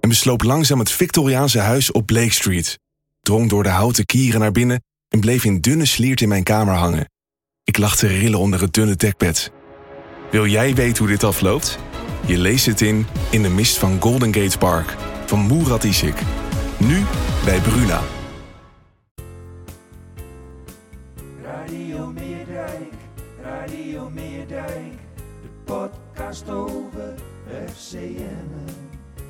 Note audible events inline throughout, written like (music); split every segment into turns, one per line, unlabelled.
en besloop langzaam het Victoriaanse huis op Blake Street. Drong door de houten kieren naar binnen en bleef in dunne sliert in mijn kamer hangen. Ik lag te rillen onder het dunne dekbed. Wil jij weten hoe dit afloopt? Je leest het in In de mist van Golden Gate Park van Murat Isik. Nu bij Bruna.
Radio Meerdijk, Radio Meerdijk, de podcast over FCM.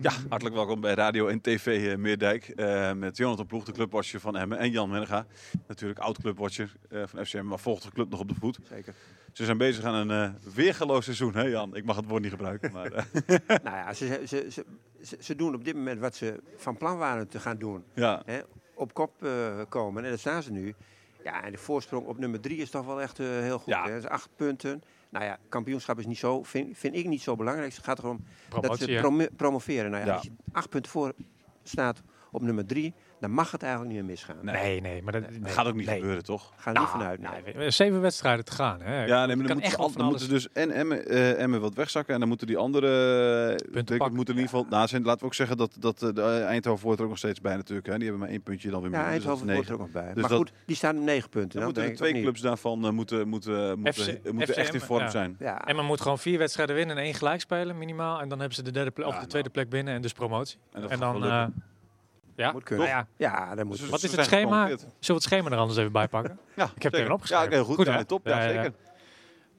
Ja, hartelijk welkom bij Radio en TV eh, Meerdijk. eh, met Jonathan Ploeg, de clubwatcher van Emmen. En Jan Menega, natuurlijk oud clubwatcher eh, van FCM. Maar volgt de club nog op de voet.
Zeker.
Ze zijn bezig aan een eh, weergeloos seizoen, hè Jan? Ik mag het woord niet gebruiken. Maar, eh, (laughs)
nou ja, ze, ze, ze, ze, ze doen op dit moment wat ze van plan waren te gaan doen.
ja.
Hè? Op kop eh, komen. En dat staan ze nu. Ja, en de voorsprong op nummer drie is toch wel echt eh, heel goed.
Ja.
Hè? Dat is acht punten. Nou ja, kampioenschap is niet zo, vind, vind ik niet zo belangrijk. Het gaat erom dat
Promotie,
ze
hè?
promo- promoveren. Nou ja,
Ja.
Als je acht punten voor staat op nummer drie, dan mag het eigenlijk niet meer misgaan.
Nee.
Nee, nee, maar dat,
Dat
nee,
gaat ook niet
nee.
gebeuren, toch?
Ga er
Nou,
niet vanuit.
nee,
Nee.
we- we- Zeven wedstrijden te gaan. Hè.
Ja, nee, maar
kan
dan moeten,
echt
ze
wel
al-
van
dan moeten dus en Emmen, eh, Emmen wat wegzakken. En dan moeten die andere... eh, ik denk,
pakken.
moeten in ieder geval... Nou, zijn, laten we ook zeggen dat, dat eh, de Eindhoven hoort er ook nog steeds bij natuurlijk. Hè? Die hebben maar één puntje dan weer
Ja,
minder, dus dat is
Eindhoven hoort er
negen.
ook nog bij.
Dus
maar
dat-
goed, die staan op negen punten.
Dan
Nou,
moeten er
denk ik
twee
ook niet.
clubs daarvan eh, moeten, moeten, moeten,
FC
moeten echt in vorm
ja.
zijn.
Ja,
En men moet gewoon vier wedstrijden winnen en één gelijk spelen minimaal. En dan hebben ze de, derde plek, of de tweede plek binnen en dus promotie.
nou. En dat
en
gaat
dan...
wel lukken.
eh, ja,
Moet kunnen.
Nou ja,
ja, dat moet
Dus
wat
ze
is het
zijn
schema?
geconfronteerd.
Zullen we het schema er anders even bij pakken?
Ja,
Ik heb het even opgeschreven.
Ja, oké, goed.
Goed,
ja,
hè?
top. Ja,
Ja, ja, ja.
zeker.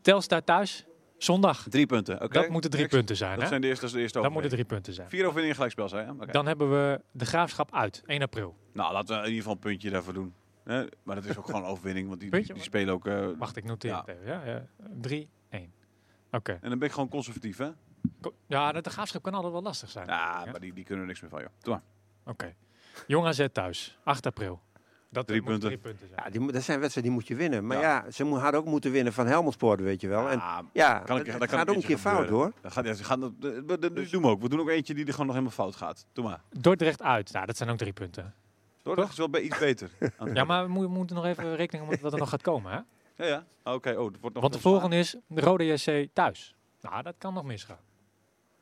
Telstar thuis, zondag.
Drie punten. Oké.
Dat moeten drie
Next.
punten zijn.
Dat
hè?
zijn de eerste, dat is de eerste
Dat moeten
overweging.
drie punten zijn.
Vier overwinningen in gelijkspel zijn. hè? Oké.
Dan hebben we de graafschap uit, 1 april.
Nou, laten we in ieder geval een puntje daarvoor doen. Hè? maar dat is ook gewoon een overwinning, want die,
Puntje,
die spelen ook... eh,
Wacht, ik noteer
Ja.
het even. Ja, ja. Drie, één. Oké.
en dan ben ik gewoon conservatief, hè?
Ko- Ja, de graafschap kan altijd wel lastig zijn.
Ja, maar die, die kunnen er niks meer van, joh.
Nou,
Doe maar.
Oké. Jong AZ thuis, 8 april. Dat
Drie
moet
punten.
drie punten zijn.
Ja, die, moet- dat zijn wedstrijden die moet je winnen. Maar
Ja.
ja, ze mo- hadden ook moeten winnen van Helmelsport, weet je wel. Ja, en,
Ah,
ja
kan ik,
dat,
dat
dat
kan
gaat ook een keer fout, hoor.
Dat gaat, ja, ze gaan, dat, dat- dat-
Dus-
dat doen we ook. We doen ook eentje die er gewoon nog helemaal fout gaat. Doe maar.
Dordrecht uit, nou, dat zijn ook drie punten.
Dordrecht is wel bij iets beter.
(laughs) Ja, maar we moeten- we moeten nog even rekening houden met wat er nog gaat
(laughs)
komen. Hè?
Ja, ja. Ah, Oké, oh, het wordt nog...
Want de volgende is de Rode JC thuis. Nou, dat kan nog misgaan.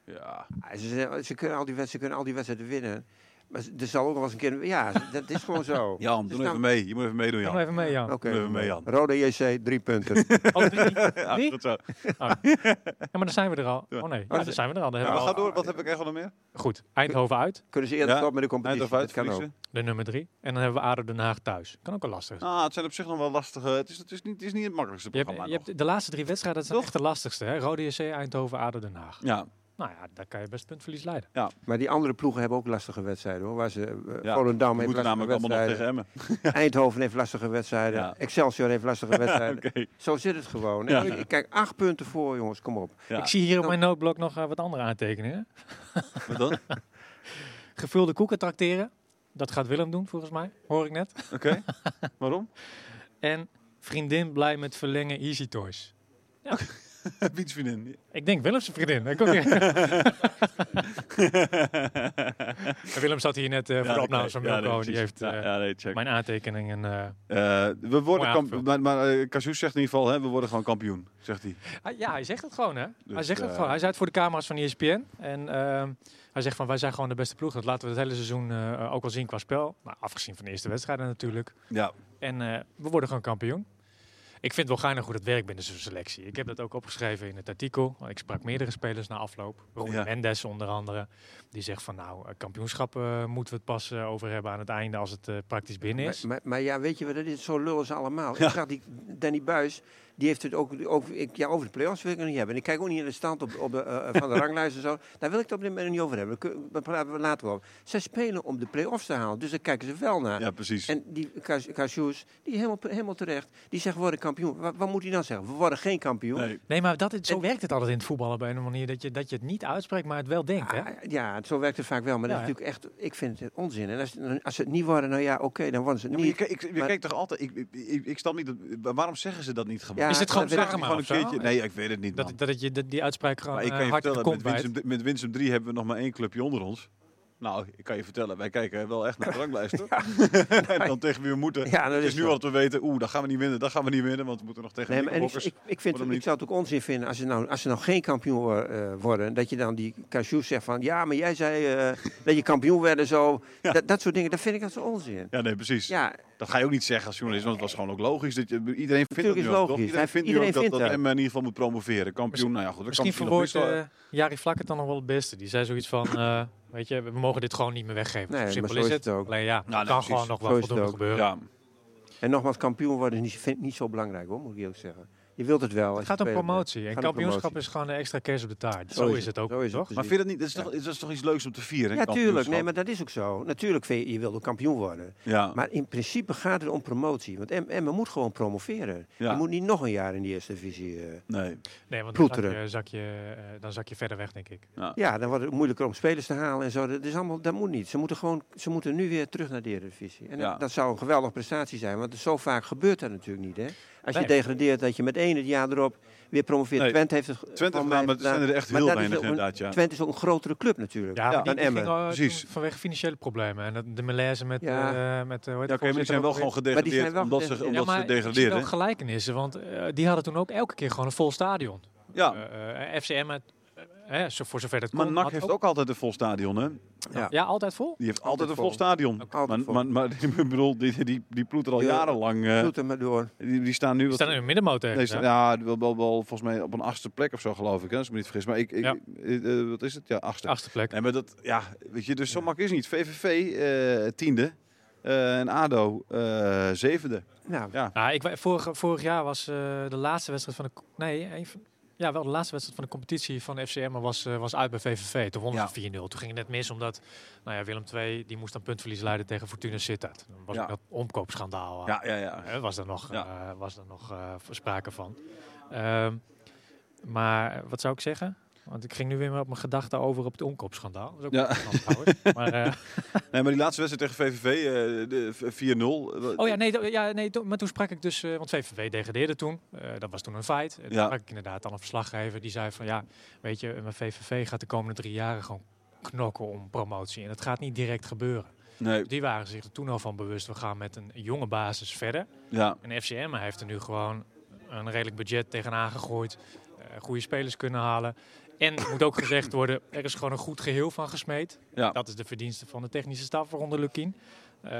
Ja.
Ah, Ze, zijn- ze kunnen al die wedstrijden, ze kunnen al die wedstrijden winnen. Maar ze- er zal ook wel eens een keer... Ja, dat is gewoon zo.
(laughs) Jan, doe
Dus
even
dan-
mee. Je moet even meedoen,
Kom
Jan.
even mee, Jan.
Oké,
Doe even mee, Jan.
Rode JC, drie
(laughs)
punten.
Oh, drie?
Ja,
Drie?
goed zo.
Ja, maar dan zijn we er al.
Ja.
Oh nee, ja, dan zijn we er al. Dan hebben
Maar
we
ga
al.
door. Wat heb ik echt nog meer?
Goed, Eindhoven uit,
Kunnen ze eerder
Ja,
stoppen met de competitie?
Eindhoven uit,
dat kan ook.
verliezen.
de nummer drie. En dan hebben we ADO Den Haag thuis. Kan ook wel lastig zijn.
Ah, het zijn op zich nog wel lastige. Het is, het is, niet, het is niet het makkelijkste
Je
programma.
hebt, je hebt de laatste drie wedstrijden, dat zijn
Toch?
echt de lastigste. Hè? Rode JC, Eindhoven, ADO Den Haag.
nog. Ja,
Nou ja, daar kan je best puntverlies leiden.
Maar die andere ploegen hebben ook lastige wedstrijden, hoor. Waar ze, eh,
Ja,
Volendam
we
heeft
moeten
lastige
namelijk allemaal nog tegen (laughs)
wedstrijden.
Emmen.
Eindhoven heeft lastige wedstrijden.
Ja.
Excelsior heeft
(laughs)
lastige wedstrijden.
Oké.
Zo zit het gewoon.
Ja.
Ik- Kijk, acht punten voor, jongens. Kom op.
Ja.
Ik zie hier op mijn noodblok nog eh, wat andere aantekeningen.
Wat dan?
Gevulde koeken trakteren. Dat gaat Willem doen, volgens mij. Hoor ik net.
Oké.
(laughs)
Waarom?
En vriendin blij met verlengen Easy Toys.
Fietsvriendin. Ik
Ik denk Willem's vriendin. Ik ook
(laughs)
niet. Willem zat hier net eh, voor de opnames van Milko. die heeft
Ja,
eh,
ja, nee, check.
mijn aantekeningen. eh,
Eh, we worden
Mooi
kamp
aangevuld.
maar, maar eh, Cassius zegt in ieder geval, hè, we worden gewoon kampioen, zegt hij.
hij- ja, hij zegt het gewoon, hè? hij
Dus,
zegt het
eh,
gewoon. Hij zei het voor de camera's van E ESPN. En ehm, hij zegt van, wij zijn gewoon de beste ploeg. Dat laten we het hele seizoen eh, ook wel zien qua spel. Nou, afgezien van de eerste wedstrijden natuurlijk.
Ja,
En eh, we worden gewoon kampioen. Ik vind het wel geinig hoe dat werkt binnen zo'n selectie. Ik heb dat ook opgeschreven in het artikel. want Ik sprak meerdere spelers na afloop. Ronnie
Ja.
Mendes onder andere. Die zegt van nou, eh, kampioenschap eh, moeten we het pas eh, over hebben aan het einde als het eh, praktisch binnen
Maar,
is.
maar, maar ja, weet je wat het is? Zo lullen ze allemaal. Ik zag die Danny Buis, Die heeft het ook, ook ik, ja, over de play-offs wil ik het nog niet hebben. En ik kijk ook niet in de stand op, op de, eh, eh, van
(laughs)
de ranglijst en zo. Daar wil ik het op dit moment niet over hebben. Daar kun- Daar praten we later wel over. Zij spelen om de play-offs te halen, dus daar kijken ze wel naar.
Ja, precies.
En die Cas- Cassius, die helemaal, helemaal terecht, die zegt we worden kampioen. Wat, wat moet hij dan zeggen? We worden geen kampioen.
nee.
Nee, maar dat, is- zo werkt het altijd in het voetballen op een of andere manier. Dat je, dat je het niet uitspreekt, maar het wel denkt. Hè?
Ah, ja, zo werkt het vaak wel, maar
Ja,
dat is natuurlijk echt, ik vind het onzin. En als, als ze het niet worden, nou ja, oké, dan worden ze
Ja,
het
maar je,
niet.
ke- ik, je
maar-
kijkt toch altijd. Ik, ik, ik, ik snap niet. Dat, wa- waarom zeggen ze dat niet gewoon?
Ja,
is het gewoon
dat weet ik
zeggen
Gewoon
maar
een
of zo?
keertje. Nee, ik weet het niet.
Dat,
man.
dat het je dat die uitspraak gewoon
maar ik
eh,
kan je
hard in de
vertellen,
kont
met
bijt.
Winsum, met Winsum 3 hebben we nog maar één clubje onder ons. Nou, ik kan je vertellen, wij kijken wel echt naar de ranglijst.
(laughs)
hoor. (laughs) en dan tegen wie we moeten.
Ja, dat
het is
is
nu
zo.
al dat we weten, oeh, dat gaan we niet winnen, dat gaan we niet winnen, want we moeten nog tegen
Nee,
de
maar en ik,
Knickerbockers.
ik, ik, vind,
Waarom
ik
niet?
zou het ook onzin vinden als ze nou, als ze nou geen kampioen wo- eh, worden. Dat je dan die cashews zegt van ja, maar jij zei eh, dat je kampioen werd en zo. Dat, dat soort dingen, dat vind ik dat zo onzin.
Ja, nee, precies.
Ja,
Dat ga je ook niet zeggen als journalist, want het was gewoon ook logisch. Dat je, iedereen vindt
Natuurlijk
dat
is
nu ook, toch?
logisch.
Iedereen
Hij-
vindt
iedereen
nu ook
vindt
dat, dat
dat.
Emmen in ieder geval moet promoveren. Kampioen, nou ja, goed. dat kan
Misschien
nog
verwoordt
best wel-
eh Jari Vlak het dan nog wel het beste. Die zei zoiets van, eh, weet je, we mogen dit gewoon niet meer weggeven.
Nee,
zo
maar
simpel
zo
is
is
het.
het ook.
Alleen ja, het
nee,
kan
precies.
gewoon nog
Zo
wel
is het
voldoende
ook.
gebeuren.
Ja,
en nogmaals, kampioen worden is niet, vind ik niet zo belangrijk hoor, moet ik eerlijk zeggen. Je wilt het wel. als
Het
je
gaat om
speler bent.
promotie. En
Gaat om
kampioenschap
promotie.
is gewoon een extra kerst op de taart. Zo, is het ook,
Zo is
toch?
het.
Maar vind
precies.
je dat niet? Dat is, toch, dat is toch iets leuks om te vieren?
Ja, tuurlijk. Nee,
kampioenschap?
maar dat is ook zo. Natuurlijk, vind je, je wilt ook kampioen worden.
Ja.
Maar in principe gaat het om promotie. Want Em- Emmen moet gewoon promoveren.
Ja.
Je moet niet nog een jaar in de eerste divisie. eh.
Nee.
Nee, want dan zak,
Ploeteren.
je, zak je, eh, dan zak je verder weg, denk ik.
Ja, dan wordt het moeilijker om spelers te halen en zo. Dat, is allemaal, dat moet niet. Ze moeten, gewoon, ze moeten nu weer terug naar de Eredivisie. En dat-
Ja.
dat, zou een geweldige prestatie zijn. Want zo vaak gebeurt dat natuurlijk niet. Hè? Als
Nee.
je degradeert dat je met één het jaar erop weer promoveert.
Nee.
Twente heeft het ge-
Twente
van
heeft gedaan, maar
mij
er
gedaan.
zijn er echt
Maar
heel
dat is
weinig
ook een-
inderdaad, ja.
Twente is ook een grotere club natuurlijk.
Ja, maar die,
dan
die
Emmen.
ging al, eh,
Precies.
toen vanwege financiële problemen. En dat- de malaise met...
Ja.
eh, met eh, hoe heet
Ja,
het,
oké, maar die
voorzitter
zijn wel
ook
gewoon
weer?
gedegradeerd
Maar die zijn wel
omdat ze,
gedegradeerd.
omdat
ja,
ze
maar ik zie
degradeerden.
wel gelijkenissen, want eh, die hadden toen ook elke keer gewoon een vol stadion.
Ja,
Eh, eh, FCM, het, eh, eh, zo- voor zover dat kon.
maar NAC
had
heeft ook altijd een vol stadion, hè?
Ja, altijd vol?
Die heeft altijd een vol
vol.
stadion.
Altijd
Maar,
vol.
maar, maar (laughs) ik bedoel, die, die, die ploeteren al
Ja.
jarenlang. eh,
Doet er maar door.
die, die staan nu...
We
wat-
staan in een middenmoot
nee,
ergens,
staan-
hè?
ja, wel, wel, wel volgens mij op een achtste plek of zo, geloof ik. Hè, als ik me niet vergis. Maar ik... ik
Ja.
eh, eh, wat is het? Ja, achtste.
Achtste plek.
Nee, maar dat... Ja, weet je, dus zo makkelijk is het niet. VVV, eh, tiende. eh, en ADO, eh, zevende.
Nou,
Ja.
Nou, ik, wa- vorig, vorig jaar was eh, de laatste wedstrijd van de... co- Nee, een van- ja, wel de laatste wedstrijd van de competitie van FCM was, eh, was uit bij VVV. Toen wonnen ze 4-0. Toen ging het net mis omdat nou ja, Willem II die moest dan puntverlies leiden tegen Fortuna Sittard. Dan was
Ja.
ook dat omkoopschandaal. eh,
Ja, ja, ja.
Hè, was er nog,
Ja.
eh, was er nog eh, sprake van. Ehm, maar eh, wat zou ik zeggen? Want ik ging nu weer maar op mijn gedachten over op het omkoopschandaal. Dat is ook
Ja.
wel interessant
(laughs)
trouwens. Maar, eh,
Nee, maar die laatste wedstrijd tegen VVV, eh, de v- 4-0. eh,
oh ja, nee, to- ja, nee to- maar toen sprak ik dus... eh, want VVV degradeerde toen. Eh, dat was toen een feit. En toen
Ja.
sprak ik inderdaad aan een verslaggever. Die zei van, ja, weet je, mijn VVV gaat de komende drie jaren gewoon knokken om promotie. En dat gaat niet direct gebeuren.
Nee,
Die waren zich er toen al van bewust. We gaan met een jonge basis verder.
ja.
En FCM heeft er nu gewoon een redelijk budget tegenaan gegooid. eh, goede spelers kunnen halen. En het moet ook gezegd worden, er is gewoon een goed geheel van gesmeed.
Ja.
Dat is de verdienste van de technische staf, waaronder Lukien. Ehm,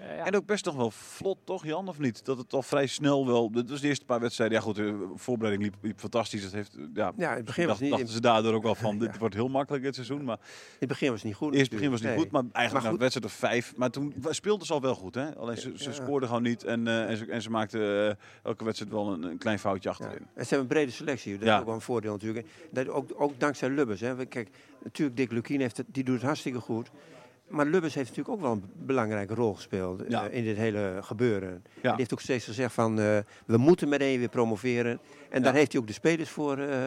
eh, ja.
En ook best nog wel vlot, toch Jan, of niet? Dat het al vrij snel wel... Dat was de eerste paar wedstrijden. Ja goed, de voorbereiding liep, liep fantastisch. Dat heeft, eh, ja,
ja, in het begin was
dacht,
het niet,
dachten
in
ze daardoor ook wel
(laughs)
van, dit wordt heel makkelijk dit seizoen. Maar
het begin was het niet goed.
eerst begin was niet
natuurlijk.
goed, maar eigenlijk
Maar
na
goed.
wedstrijd of vijf. Maar toen wa- speelden ze al wel goed, hè? Alleen ze, ze
Ja.
scoorden gewoon niet en, eh, en, ze, en ze maakten eh, elke wedstrijd wel een, een klein foutje
Ja.
achterin.
En ze hebben een brede selectie. Dat
Ja.
is ook wel een voordeel natuurlijk. Dat ook, ook dankzij Lubbers. Hè. We- Kijk, natuurlijk Dick Lukien heeft het, die doet het hartstikke goed. Maar Lubbers heeft natuurlijk ook wel een belangrijke rol gespeeld eh,
Ja.
in dit hele gebeuren.
Ja.
Die heeft ook steeds gezegd van eh, we moeten meteen weer promoveren. En daar
Ja.
heeft hij ook de spelers voor, eh,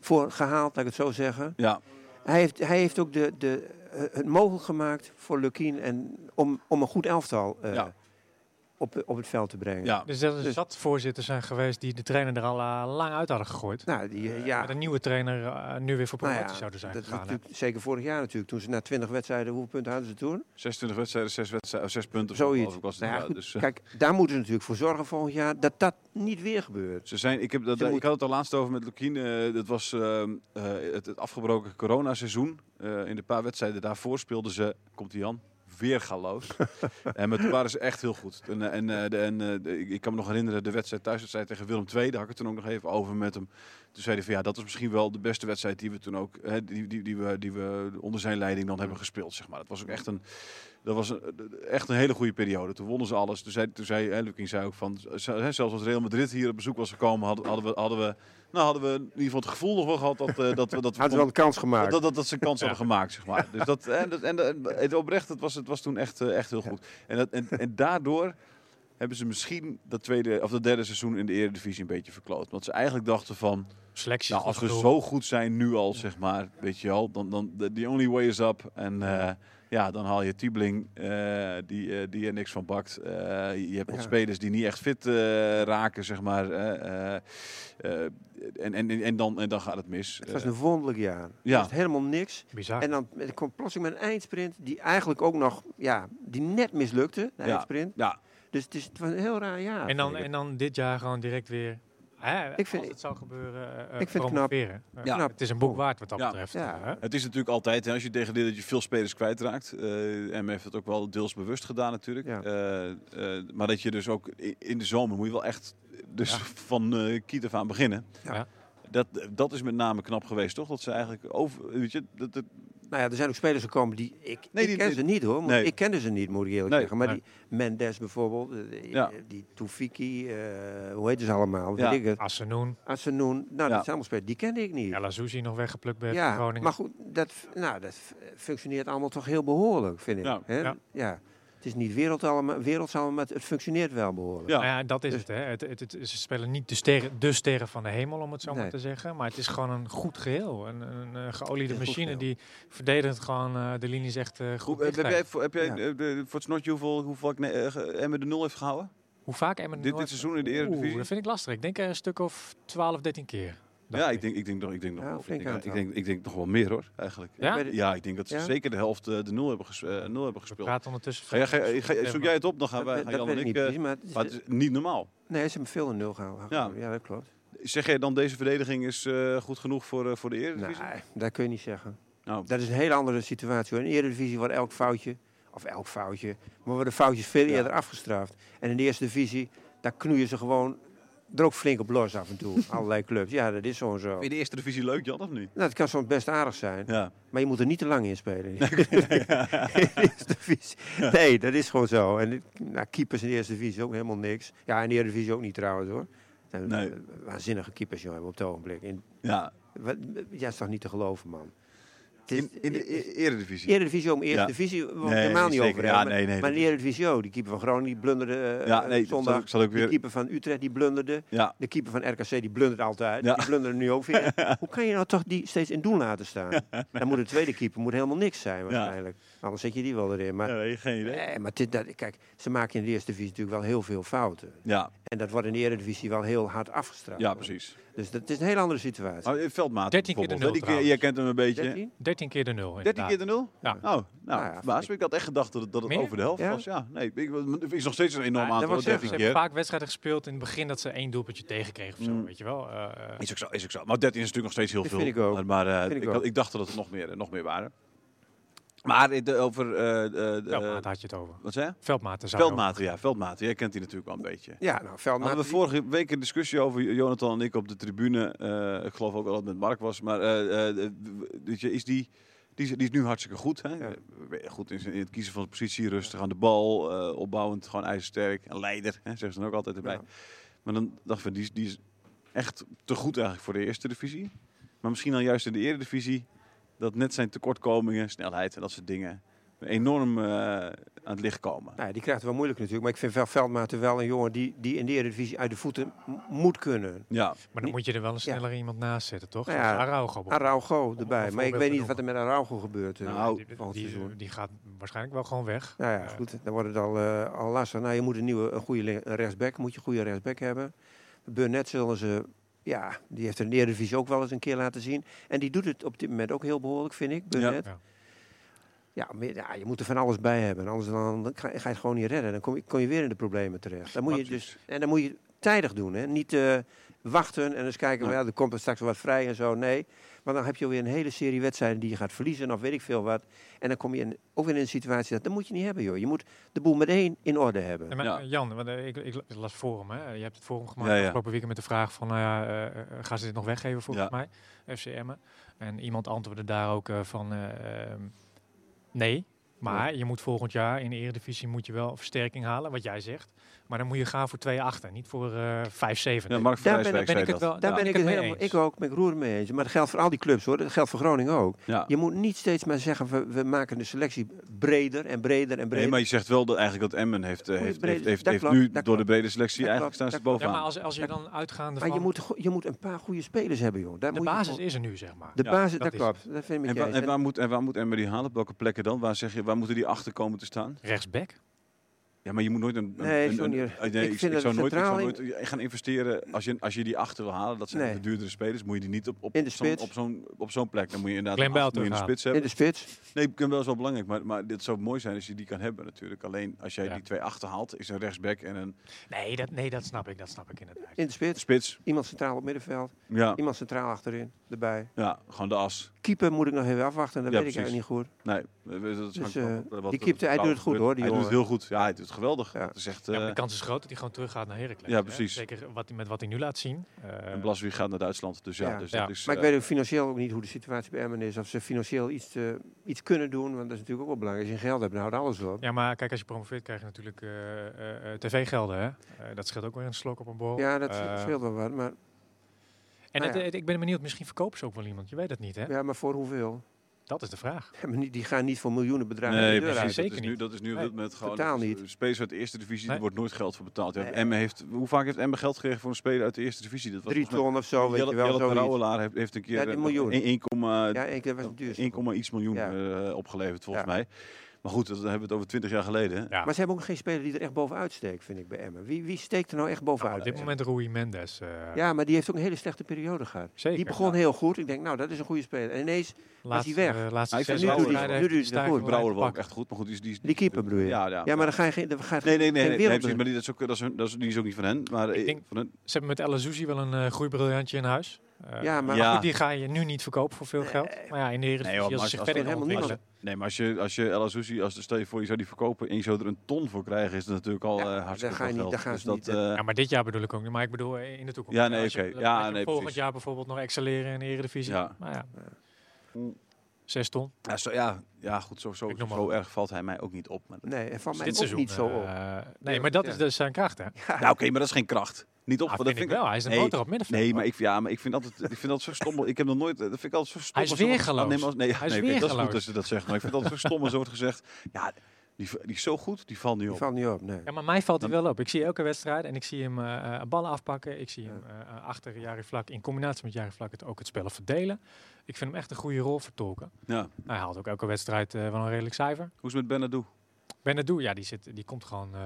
voor gehaald, laat ik het zo zeggen.
Ja,
Hij heeft, hij heeft ook de, de, eh, het mogelijk gemaakt voor Lukien en om, om een goed elftal eh,
Ja.
op, op het veld te brengen.
ja.
Dus dat er
Dus-
zat voorzitters zijn geweest die de trainer er al eh, lang uit hadden gegooid.
Nou, die, eh, ja.
Met een nieuwe trainer eh, nu weer voor
Nou
promotie
ja,
zouden zijn
dat is
gegaan. hè.
natuurlijk- Zeker vorig jaar natuurlijk. Toen ze na 20 wedstrijden, hoeveel punten hadden ze toen?
26 wedstrijden, 6, wedstrijden, 6 punten. of zo,
Zoiets.
geloof ik, was het
Nou ja,
inderdaad.
goed,
dus, eh,
Kijk, daar moeten ze natuurlijk voor zorgen volgend jaar dat dat niet weer gebeurt.
eh, Ze zijn, ik, heb dat,
Ze
ik
moet-
had het al laatst over met Lukien. eh, dat was ehm, eh, het, het afgebroken coronaseizoen. Eh, in de paar wedstrijden daarvoor speelden ze, komt die Jan, weer
(laughs)
galoos. en met, waren ze echt heel goed. En, eh, en, eh, de- en, eh, de- ik, ik kan me nog herinneren de wedstrijd thuiswedstrijd tegen Willem II. Daar had ik het toen ook nog even over met hem. Toen zei hij van ja, dat was misschien wel de beste wedstrijd die we toen ook, hè, die, die, die, we, die we onder zijn leiding dan hebben gespeeld. Zeg maar. Dat was ook echt een, Dat was een- echt een hele goede periode. Toen wonnen ze alles. Toen zei, toen zei hè, Lukin zei ook van, z- hè, zelfs als Real Madrid hier op bezoek was gekomen, hadden, hadden, we, hadden, we, nou, hadden we in ieder geval het gevoel nog wel gehad dat, eh, dat we dat we
Hadden ze wel een kans gemaakt.
dat, dat, dat, dat ze een kans hadden gemaakt, zeg maar. Dus dat, en, dat, en, dat- het oprecht, het was, het was toen echt, eh, echt heel goed. En, dat, en, en daardoor hebben ze misschien dat tweede of dat derde seizoen in de Eredivisie een beetje verkloot. Want ze eigenlijk dachten van,
Selectie.
nou,
is
als
goed
we
genoeg.
zo goed zijn nu al, zeg maar, weet je wel, dan, dan the- the only way is up. En eh, ja, dan haal je Tiebeling, eh, die, eh, die er niks van bakt. Eh, je hebt wat
Ja.
spelers die niet echt fit eh, raken, zeg maar. Eh, eh, eh, en, en, en, dan, en dan gaat het mis. Eh,
Het was een wonderlijk jaar.
ja.
Er was helemaal niks.
Bizar.
En dan eh, kwam plotseling met een eindsprint die eigenlijk ook nog, ja, die net mislukte, de
Ja.
eindsprint.
ja,
Dus het, is, het was een heel raar jaar.
En dan,
vind ik
en dan dit jaar gewoon direct weer. Hè,
Ik vind-
als het zou gebeuren, eh
ik vind het knap.
promoveren. Eh,
Ja.
Het is een boek waard wat dat
Ja.
betreft.
Ja.
hè?
Het is natuurlijk altijd, hè, als je degradeert, dat je veel spelers kwijtraakt. Eh en men heeft het ook wel deels bewust gedaan natuurlijk.
Ja.
Eh, eh, maar dat je dus ook i- in de zomer moet je wel echt dus (laughs) van eh kiet af aan beginnen.
Ja.
Dat, dat is met name knap geweest, toch? Dat ze eigenlijk over... Weet je, dat, dat,
Nou ja, er zijn ook spelers gekomen die... Ik,
Nee,
ik
die-
ken
die-
ze niet hoor, want
nee.
ik kende ze niet, moet ik eerlijk
Nee.
zeggen. Maar
Nee.
die Mendes bijvoorbeeld, eh, die,
Ja.
die Toefiki, eh, hoe heet ze allemaal?
Ja.
Ja. Ik het?
Assenoen,
Asenoen, nou
Ja.
dat zijn allemaal spelers, die kende ik niet.
El Azouzi nog weggeplukt bij
Ja,
Groningen.
maar goed, dat, nou, dat f- functioneert allemaal toch heel behoorlijk, vind ik.
Ja.
Hè?
Ja.
Ja. Het is niet wereld allemaal, werelds allemaal, maar het functioneert wel behoorlijk.
ja. Eh.
Nou ja, dat is
Dus-
het, hè. Het, het, het- ze spelen niet de sterren, de sterren van de hemel, om het zo maar
Nee.
te zeggen. Maar het is gewoon een goed geheel. Een, een, eh,
Het
geoliede
is een goed
machine
geheel.
die verdedigend gewoon eh, de linies echt eh,
Hoe-
goed
heb
dichtkrijgt.
jij, voor- heb jij
Ja.
eh, de- voor het snotje hoeveel, hoeveel ik, nee, eh, ge- Emmen de nul heeft gehouden?
Hoe vaak Emmen
Dit,
Noord-
dit seizoen in de
Oeh,
Eredivisie?
dat vind ik lastig. Ik denk er een stuk of 12, 13 keer. dacht
ja, ik denk, ik denk nog, ik denk nog,
Ja,
wel.
flink
ik, denk,
aantal.
ik, denk, ik denk nog wel meer hoor, eigenlijk.
Ja?
Bij de-
Ja, ik denk dat ze
Ja?
zeker de helft eh, de nul hebben, ges- eh, nul hebben
We
gespeeld.
praten ondertussen...
Ga jij, ga, ga- zoek jij het op, dan gaan
dat
wij,
we-
gaan
dat
Jan
weet
en
ik
ik... eh,
niet precies, maar het is-
maar het is niet normaal.
nee, ze hebben veel een nul gehouden.
Ja.
Ja. dat klopt.
Zeg jij dan, deze verdediging is eh, goed genoeg voor, eh, voor de
Nee,
Eredivisie?
dat kun je niet zeggen.
Nou,
Dat is een hele andere situatie. hoor. In de Eredivisie wordt elk foutje, of elk foutje, maar worden foutjes veel
Ja.
eerder afgestraft. En in de Eerste Divisie, daar knoeien ze gewoon er ook flink op los af en
(laughs)
toe. Allerlei clubs. Ja, dat is zo en zo.
vind je
Nou,
de Eerste Divisie leuk, Jan, of niet?
dat Nou, kan soms best aardig zijn,
Ja.
maar je moet er niet te lang in
(laughs)
spelen. (laughs) In de Eerste Divisie. Nee, dat is gewoon zo. En dit- nou, keepers in de Eerste Divisie ook helemaal niks. Ja, in de Eredivisie ook niet trouwens hoor. Er zijn
Nee.
Waanzinnige keepers, jongen, op het ogenblik. In,
ja.
wat, ja, is toch niet te geloven, man. Het is-
In, in de E- Eredivisie.
Eredivisie om eerste
Ja.
divisie, we
Nee,
helemaal niet
zeker.
over
Ja,
hebben.
nee, nee, dat
maar in de Eredivisie ook. Die keeper van Groningen die blunderde eh,
Ja,
eh,
nee, dat
zondag.
zal ik- zal ik
De
weer...
keeper van Utrecht die blunderde.
Ja,
De keeper van RKC die blundert altijd.
Ja.
Die blunderde nu ook
(laughs)
weer. Hoe kan je nou toch die steeds in doel laten staan? Dan moet de tweede keeper moet helemaal niks zijn waarschijnlijk. Anders zet je die wel erin. Maar,
Ja, nee, geen idee.
nee, maar dit, dat, kijk, ze maken in de Eerste Divisie natuurlijk wel heel veel fouten.
Ja,
En dat wordt in de Eredivisie wel heel hard afgestraft.
ja precies.
Dus dat is een hele andere situatie.
Maar eh, Veldmaat
13 keer de
bijvoorbeeld,
nul
hè, die- Jij kent hem een beetje.
13?
13 keer de nul,
13
inderdaad.
keer de nul?
Ja.
Oh, nou,
Nou ja,
baas, ik had echt gedacht dat het, dat het
Meer?
over de helft
Ja?
was. Ja, nee, ik, ik is nog steeds een enorm
Ja,
aantal, hoor,
dat wou
13
ik
Ze
zeggen.
keer.
hebben vaak wedstrijden gespeeld in het begin dat ze één doelpuntje tegenkregen of zo,
Mm.
weet je wel. Eh, eh,
Is ook zo, is ook zo. Maar 13 is natuurlijk nog steeds heel
Dat
veel.
vind ik ook.
Maar eh,
Vind
ik,
ik
had-
ook.
ik dacht dat het nog meer, nog meer waren. Maar eh, de- over... eh, eh, de-
veldmaat had je het over.
wat zei je?
Veldmaten zou
Veldmaten, ja, Veldmaten. Jij kent die natuurlijk wel een beetje.
Ja, nou,
Hadden we
Veldmaat.
vorige week een discussie over Jonathan en ik op de tribune. Eh, ik geloof ook wel dat het met Mark was. Maar eh, eh, w- weet je, is die, die, is, die is nu hartstikke goed. Hè?
Ja.
Eh, Goed in, zijn- in het kiezen van zijn positie, rustig aan de bal, eh, opbouwend, gewoon ijzersterk. Een leider, hè, zeggen ze dan ook altijd erbij.
Ja.
Maar dan dacht ik, die, is- die is echt te goed eigenlijk voor de eerste divisie. Maar misschien dan juist in de eredivisie, dat net zijn tekortkomingen, snelheid en dat soort dingen enorm eh, aan het licht komen.
Nou, ja, die krijgt het wel moeilijk natuurlijk. Maar ik vind Vel- Veldmaten wel een jongen die, die in de Eredivisie uit de voeten m- moet kunnen.
Ja,
Maar dan moet je er wel een sneller iemand naast zetten, toch?
Nou
Zoals
ja,
Araujo bijvoorbeeld.
Araujo erbij.
een
Maar ik
voorbeeld
weet
te
niet wat er met Araujo gebeurt. eh,
Nou,
die,
volgend
die-
seizoen.
die gaat waarschijnlijk wel gewoon weg.
Nou ja,
Eh,
goed. Dan wordt het al, eh, al lastig. Nou, je moet een nieuwe een goede lin- een rechtsback. Moet je een goede rechtsback hebben. Burnett zullen ze... Ja, die heeft in de Eredivisie ook wel eens een keer laten zien. En die doet het op dit moment ook heel behoorlijk, vind ik, Burnett.
Ja.
Ja, maar, ja, je moet er van alles bij hebben. Anders dan, dan ga, ga je het gewoon niet redden. Dan kom je, kom je weer in de problemen terecht. Dan moet je
Precies.
dus, en dan moet je tijdig doen. Hè? Niet eh, wachten en eens kijken,
Nee.
ja, er komt er straks wat vrij en zo. Nee, want dan heb je weer een hele serie wedstrijden die je gaat verliezen of weet ik veel wat. En dan kom je in, ook weer in een situatie dat, dat moet je niet hebben joh. Je moet de boel meteen in orde hebben.
En maar,
Ja.
eh, Jan, want, eh, ik, ik las het forum, hè? Eh, Je hebt het forum gemaakt
Ja, ja.
afgelopen weekend met de vraag van, nou ja, eh, eh, gaan ze dit nog weggeven volgens mij, FCM'en? En iemand antwoordde daar ook eh, van, eh, ehm, nee. Maar je moet volgend jaar in de Eredivisie moet je wel versterking halen, wat jij zegt. Maar dan moet je gaan voor 2 achter, niet voor eh 5 7
Ja, Mark
Daar ben-
Vrijswijk
ben
zei
ik het
dat.
wel.
Daar
ja,
ben ik het
het mee
helemaal,
eens.
ik ook, ben ik roer mee eens. Maar dat geldt voor al die clubs hoor, dat geldt voor Groningen ook.
Ja.
Je moet niet steeds maar zeggen, we, we maken de selectie breder en breder en breder.
Nee, maar je zegt wel dat eigenlijk dat Emmen heeft, eh,
Goeie
heeft,
brede-
heeft, heeft,
dat
heeft
klopt,
nu
dat
door de
klopt.
brede selectie
Dat
eigenlijk staan
klopt,
ze
dat klopt.
Ja, maar
bovenaan.
als, als je dan uitgaande
Maar
van
je, moet, go- je moet een paar goede spelers hebben, joh. Daar
de
moet je
basis
gewoon-
is er nu, zeg maar.
de
Ja,
basis,
dat
dat
is-
klopt. Dat vind ik
En
met je
waar,
eens.
en,
En-
waar moet, en waar moet Emmen die halen? Op welke plekken dan? Waar, zeg je, waar moeten die achter komen te staan?
Rechtsback.
Ja, maar je moet nooit een... een-
Nee,
een-
zo
een-
niet.
eh, nee,
Ik
ik,
vind
ik
dat
zou nooit, ik zou
centraal
nooit eh, gaan investeren. Als je, als je die achter wil halen, dat zijn
Nee.
de duurdere spelers, moet je die niet op, op,
In de
zo'n-
spits.
op zo'n op zo'n plek. Dan moet je inderdaad
Glenn
een acht
Bell
moet je in de
terughalen.
spits hebben.
In de spits.
Nee, ik ben wel zo belangrijk, maar, maar dit zou mooi zijn als je die kan hebben natuurlijk. Alleen als jij
Ja.
die twee achterhaalt, is een rechtsback en een
Nee dat, nee, dat snap ik. Dat snap ik inderdaad.
In de spits.
spits.
Iemand centraal op middenveld.
Ja,
Iemand centraal achterin. Erbij.
ja gewoon de as.
Keeper moet ik nog even afwachten. Dat
Ja,
weet ik
precies.
eigenlijk niet goed.
Nee, eh, dat
Dus,
hangt
eh,
van wat- wat
die
er
keeper, hij doet het goed,
gebeurt.
hoor, die
Hij doet het
jongen.
heel goed. Ja, hij doet het geweldig.
Ja.
Het is echt,
Ja, maar
eh
de kans is groot dat hij gewoon teruggaat naar Heracles.
Ja,
hè?
precies.
Zeker wat hij, met wat hij nu laat zien. Eh,
en Blaswieg gaat naar Duitsland, dus ja.
Ja.
Dus
Ja.
Dat is,
Maar ik
eh,
weet ook financieel ook niet hoe de situatie bij Emmen is. Of ze financieel iets, eh, iets kunnen doen. Want dat is natuurlijk ook wel belangrijk. Als je geld hebt, dan houdt alles op.
ja, maar kijk, als je promoveert krijg je natuurlijk eh, eh, eh, tv-gelden. Hè? Eh, dat scheelt ook weer een slok op een borrel.
Ja, dat
Eh,
scheelt wel wat. Maar,
En
Nou
het-
ja.
het- ik ben benieuwd, misschien verkopen ze ook wel iemand. Je weet het niet, hè?
ja, maar voor hoeveel? (laughs)
Dat is de vraag.
Ja, maar niet- Die gaan niet voor miljoenen bedragen
Nee,
de deur
precies.
uit.
zeker
dat is nu,
niet.
dat is nu op dit
Nee,
moment gewoon...
totaal
dat is,
niet.
eh, Spelers uit de Eerste Divisie,
Nee.
daar wordt nooit geld voor betaald. Ja,
Nee.
Emmen heeft, hoe vaak heeft Emmen geld gekregen voor een speler uit de Eerste Divisie? Dat was
Drie
volgens
ton of
mij-
zo, weet je
Jelle-
wel.
Jelle
zoiets.
Terouwelaar heeft, heeft een keer
Ja, die
eh,
miljoen.
een- 1,2
Ja, één keer was het duurste.
1,1 iets miljoen
Ja.
eh, opgeleverd volgens
Ja.
mij. Maar goed, dat dan hebben we het over 20 jaar geleden. hè?
Ja. Nou,
Maar ze hebben ook geen speler die er echt bovenuit steekt, vind ik bij Emmen. Wie, wie steekt er nou echt
Nou,
bovenuit?
op dit
bij
moment Rui Mendes. eh,
Emmen? Ja, maar die heeft ook een hele slechte periode gehad.
Zeker.
Die begon heel goed. Ik denk, nou, dat is een goede speler. En ineens,
laatste,
hij weg.
eh, laatste
Hij
zes
is wel- nu doet hij-
wedstrijden
nu doet hij
heeft
het goed.
Stuyven
Brouwer
wel
was
uit
ook
te
echt goed, maar goed, die is... Die is
die keeper bedoel je?
ja, ja.
Ja, maar dan ga je geen, dan gaat
Nee, nee, nee,
geen
nee, nee,
wereld
precies, maar
door.
die, dat is ook, dat is, een- dat is, die is ook niet van hen. Maar
Ik
eh,
denk-
van hen.
pakken. Ze hebben met El Azouzi wel een eh groeibriljantje in huis. Eh,
Ja, maar
Ja.
goed, die ga je nu niet verkopen voor veel geld. Maar ja, in de Eredivisie,
Nee, hoor, maar
als ze zich
als-
verder
als-
gaan
helemaal niemand-
ontwikkelen-
Nee, maar als je, als je El Azuzi, als de stel je voor, je zou die verkopen en je zou er een ton voor krijgen, is dat natuurlijk al
Ja,
eh,
daar
hartstikke
ga je
veel geld.
niet- daar gaan
Dus
ze niet,
dat, eh,
Ja, maar dit jaar bedoel ik ook niet. Maar ik bedoel eh, in de toekomst.
Ja, nee,
Als je-
oké.
laat
Ja,
je hem
nee,
volgend
precies.
jaar bijvoorbeeld nog excelleren in de Eredivisie.
Ja.
Maar ja. Eh,
Mm.
Zes ton.
ja, zo, ja, ja, goed, zo, zo,
Ik noem maar
zo
wat.
erg valt hij mij ook niet op. Maar dat-
Nee, en van
Dus
mij
dit
ook
seizoen.
niet zo op.
eh, nee, maar dat is dus zijn kracht, hè? Ja,
Nou, oké, maar dat is geen kracht. Niet op,
Nou, vind,
want dat
ik wel. Hij is een
nee,
motor op middenveld.
Nee, maar ik, ja, maar ik vind altijd, ik vind dat zo stom. Ik heb nog nooit, dat vind ik altijd zo stom.
Hij is
als iemand
weergeloos.
aanneemt als- nee,
Hij is
nee, oké, dat is goed
weergeloos.
dat ze dat zegt. Maar ik vind dat zo stom als er wordt gezegd, ja, die, v- die is zo goed, die valt niet
Die
op.
valt niet op, nee.
Ja, maar mij valt hij wel op. Ik zie elke wedstrijd en ik zie hem eh, eh, ballen afpakken. Ik zie hem eh, eh, achter Jari Vlak in combinatie met Jari Vlak het ook het spel verdelen. Ik vind hem echt een goede rol vertolken.
Ja.
Hij haalt ook elke wedstrijd eh, wel een redelijk cijfer.
Hoe is het met Benadou?
Benadou, ja, die, zit, die komt gewoon... eh,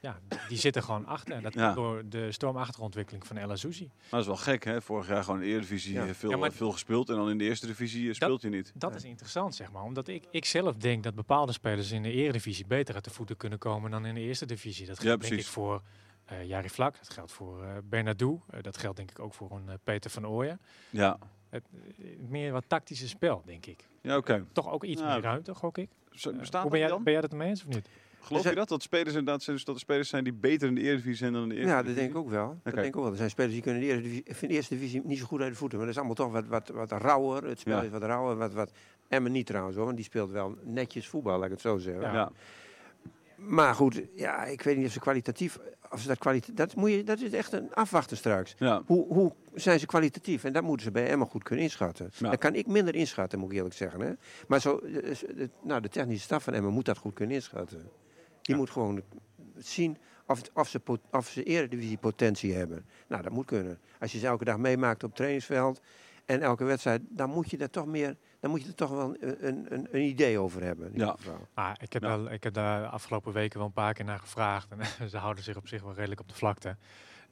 ja, die zit er gewoon achter. En dat
Ja.
komt door de stormachtige ontwikkeling van El Azouzi.
Maar dat is wel gek, hè? Vorig jaar gewoon in de Eredivisie
Ja.
eh, veel,
Ja, maar-
veel gespeeld. En dan in de Eerste Divisie eh, speelt je niet.
Dat is interessant, zeg maar. Omdat ik, ik zelf denk dat bepaalde spelers in de eredivisie beter uit de voeten kunnen komen dan in de eerste divisie. Dat geldt denk
precies.
ik voor eh Jari Vlak, dat geldt voor eh Bernardo, eh, dat geldt denk ik ook voor een eh, Peter van Ooyen.
Ja,
Het, eh, meer wat tactische spel, denk ik.
ja oké.
Toch ook iets
Ja.
meer ruimte, gok ik.
Zo-
Eh,
Nou, Bestaat
hoe ben,
dat
jij,
dan?
ben jij dat ermee eens of niet?
Geloof
Dus,
je dat? Dat spelers inderdaad zijn, dus dat er spelers zijn die beter in de Eredivisie zijn dan in de Eerste
Ja, dat denk ik ook wel. Dat
Oké.
denk ik ook wel. Er zijn spelers die kunnen in de eerste divisie, in de eerste divisie niet zo goed uit de voeten. Maar dat is allemaal toch wat, wat, wat rauwer. Het spel
Ja.
is wat rauwer. Wat, wat. Emmen niet trouwens hoor, want die speelt wel netjes voetbal, laat ik het zo zeggen.
Ja.
Ja.
Maar goed, ja, ik weet niet of ze kwalitatief... Of ze dat, kwalite- dat, moet je, dat is echt een afwachten straks.
Ja.
Hoe, hoe zijn ze kwalitatief? En dat moeten ze bij Emmen goed kunnen inschatten.
Ja.
Dat kan ik minder inschatten, moet ik eerlijk zeggen. Hè? Maar zo, eh, s- de- nou, de technische staf van Emmen moet dat goed kunnen inschatten. Die moet gewoon zien of, het- of, ze, pot- of ze eredivisie potentie hebben. Nou, dat moet kunnen. Als je ze elke dag meemaakt op het trainingsveld en elke wedstrijd... dan moet je daar toch meer... dan moet je er toch wel een, een, een, een idee over hebben. in ieder
Ja.
geval.
Ah, ik, heb
Ja.
wel, ik heb daar de afgelopen weken wel een paar keer naar gevraagd. En (laughs) ze houden zich op zich wel redelijk op de vlakte.